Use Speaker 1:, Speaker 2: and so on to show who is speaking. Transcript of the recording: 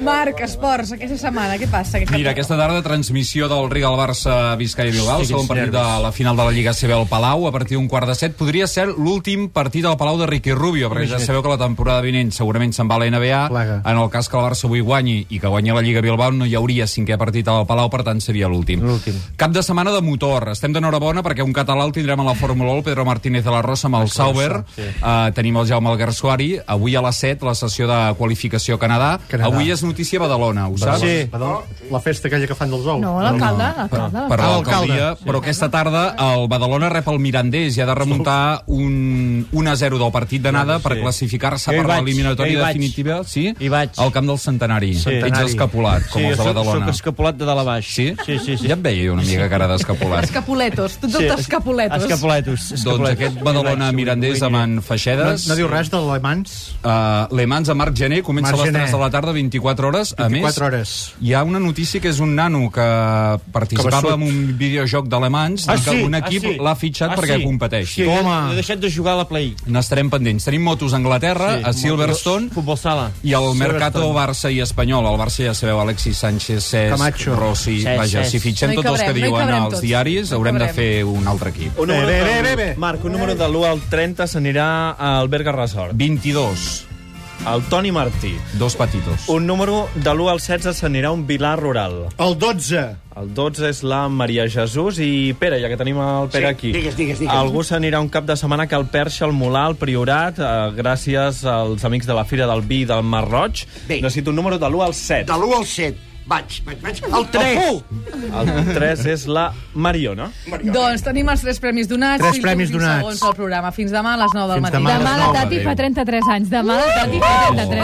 Speaker 1: Marc, esports, aquesta setmana, què passa? Aquest cap
Speaker 2: Mira,
Speaker 1: de-
Speaker 2: aquesta tarda transmissió del Riga al Barça Vizcaya i Bilbao, el
Speaker 3: Hosti,
Speaker 2: segon
Speaker 3: quins
Speaker 2: partit de
Speaker 3: nervis.
Speaker 2: la final de la Lliga CB al Palau, a partir d'un quart de set. Podria ser l'últim partit al Palau de Ricky Rubio, perquè ja
Speaker 3: Imagina't.
Speaker 2: sabeu que la temporada vinent segurament se'n va a la NBA.
Speaker 3: Plaga.
Speaker 2: En el cas que el Barça avui guanyi i que guanyi la Lliga Bilbao, no hi hauria cinquè partit al Palau, per tant seria l'últim.
Speaker 3: L'últim.
Speaker 2: Cap de setmana de motor. Estem d'enhorabona perquè un català el tindrem a la Fórmula 1, el Pedro Martínez de la Rosa, amb el Sauber.
Speaker 3: Ah, sí.
Speaker 2: Eh, tenim el Jaume Alguersuari. Avui a les 7, la sessió de qualificació a Canadà.
Speaker 3: Canadà.
Speaker 2: Avui és notícia a Badalona, ho saps?
Speaker 3: Sí. La festa aquella que fan dels ous.
Speaker 1: No, l'alcalde, l'alcalde.
Speaker 2: per
Speaker 3: Ah,
Speaker 2: l'alcaldia,
Speaker 3: l'alcalde.
Speaker 2: però aquesta tarda el Badalona rep el Mirandés i ha de remuntar un 1-0 del partit d'anada per classificar-se
Speaker 4: Jo hi
Speaker 2: per
Speaker 4: vaig, jo
Speaker 2: l'eliminatòria
Speaker 4: hi vaig.
Speaker 2: definitiva sí?
Speaker 4: Hi vaig.
Speaker 2: al camp del Centenari.
Speaker 4: Centenari.
Speaker 2: Ets escapulat, com
Speaker 4: sí,
Speaker 2: els de
Speaker 4: Sí,
Speaker 2: Badalona.
Speaker 4: soc escapulat de dalt a baix.
Speaker 2: Sí?
Speaker 4: Sí, sí, sí.
Speaker 2: Ja et veia una mica cara d'escapulat.
Speaker 1: Escapuletos, tots
Speaker 4: sí.
Speaker 1: els escapuletos.
Speaker 4: Escapuletos.
Speaker 2: doncs
Speaker 4: escapuletos.
Speaker 2: aquest Badalona Mirandés amb en
Speaker 3: No,
Speaker 2: Feixedes.
Speaker 3: no diu res d'alemans.
Speaker 2: Uh, Le Mans a Marc Gené comença
Speaker 3: Marc
Speaker 2: a les 3 de
Speaker 3: Gené.
Speaker 2: la tarda, 24 hores. A
Speaker 3: 24
Speaker 2: més,
Speaker 3: hores.
Speaker 2: hi ha una notícia que és un nano que
Speaker 3: Que
Speaker 2: participava
Speaker 3: va
Speaker 2: en un videojoc d'alemans
Speaker 4: Ah,
Speaker 2: i que
Speaker 4: sí?
Speaker 2: un
Speaker 4: Ah,
Speaker 2: equip
Speaker 4: sí?
Speaker 2: l'ha fitxat
Speaker 4: Ah,
Speaker 2: perquè
Speaker 4: sí? Sí,
Speaker 2: competeixi.
Speaker 3: Home.
Speaker 4: He deixat de jugar a la Play.
Speaker 2: N'estarem pendents. Tenim motos a Anglaterra, sí, Ah, a Silverstone,
Speaker 4: Futbol sala.
Speaker 2: i al Mercato
Speaker 3: Silverstone.
Speaker 2: Barça i Espanyol. Al Barça ja sabeu, Alexis Sánchez, Cesc,
Speaker 3: Camacho.
Speaker 2: Rossi...
Speaker 4: Cesc,
Speaker 2: vaja,
Speaker 4: Cesc.
Speaker 2: si fitxem
Speaker 1: No hi
Speaker 2: tots els que
Speaker 1: cabrem, no hi
Speaker 2: diuen
Speaker 1: cabrem
Speaker 2: als
Speaker 1: tots.
Speaker 2: diaris,
Speaker 1: No hi
Speaker 2: haurem de
Speaker 1: cabrem.
Speaker 2: fer un altre equip.
Speaker 5: Un
Speaker 3: Bé,
Speaker 4: Eh,
Speaker 5: número
Speaker 3: bé,
Speaker 5: del-
Speaker 3: bé, bé.
Speaker 5: Marc, un número de l'1 al 30 s'anirà a Alberga Resort.
Speaker 2: 22,
Speaker 5: El Toni Martí.
Speaker 2: dos petitos.
Speaker 5: Un número de l'1 al 16 s'anirà a un Vilar Rural.
Speaker 3: El 12.
Speaker 5: El 12 és la Maria Jesús i Pere, ja que tenim el Pere sí, aquí. Digues, digues, digues. Algú s'anirà un cap de setmana que el Perxa, el Molar, el Priorat, eh, gràcies als amics de la Fira del Vi i del Mar Roig.
Speaker 6: Bé.
Speaker 5: Necessito un número de l'1 al 7.
Speaker 6: De l'1 al 7. Vaig, vaig, vaig. El 3.
Speaker 5: El 3 és la Mariona.
Speaker 1: Doncs tenim els tres premis donats.
Speaker 3: Tres
Speaker 1: i els
Speaker 3: premis
Speaker 1: últims
Speaker 3: donats.
Speaker 1: Segons el programa. Fins demà a les 9 del
Speaker 3: Fins
Speaker 1: matí.
Speaker 3: demà a les
Speaker 7: Demà la
Speaker 3: nou,
Speaker 7: Tati
Speaker 3: adéu.
Speaker 7: fa 33 anys. Demà la Tati fa 33.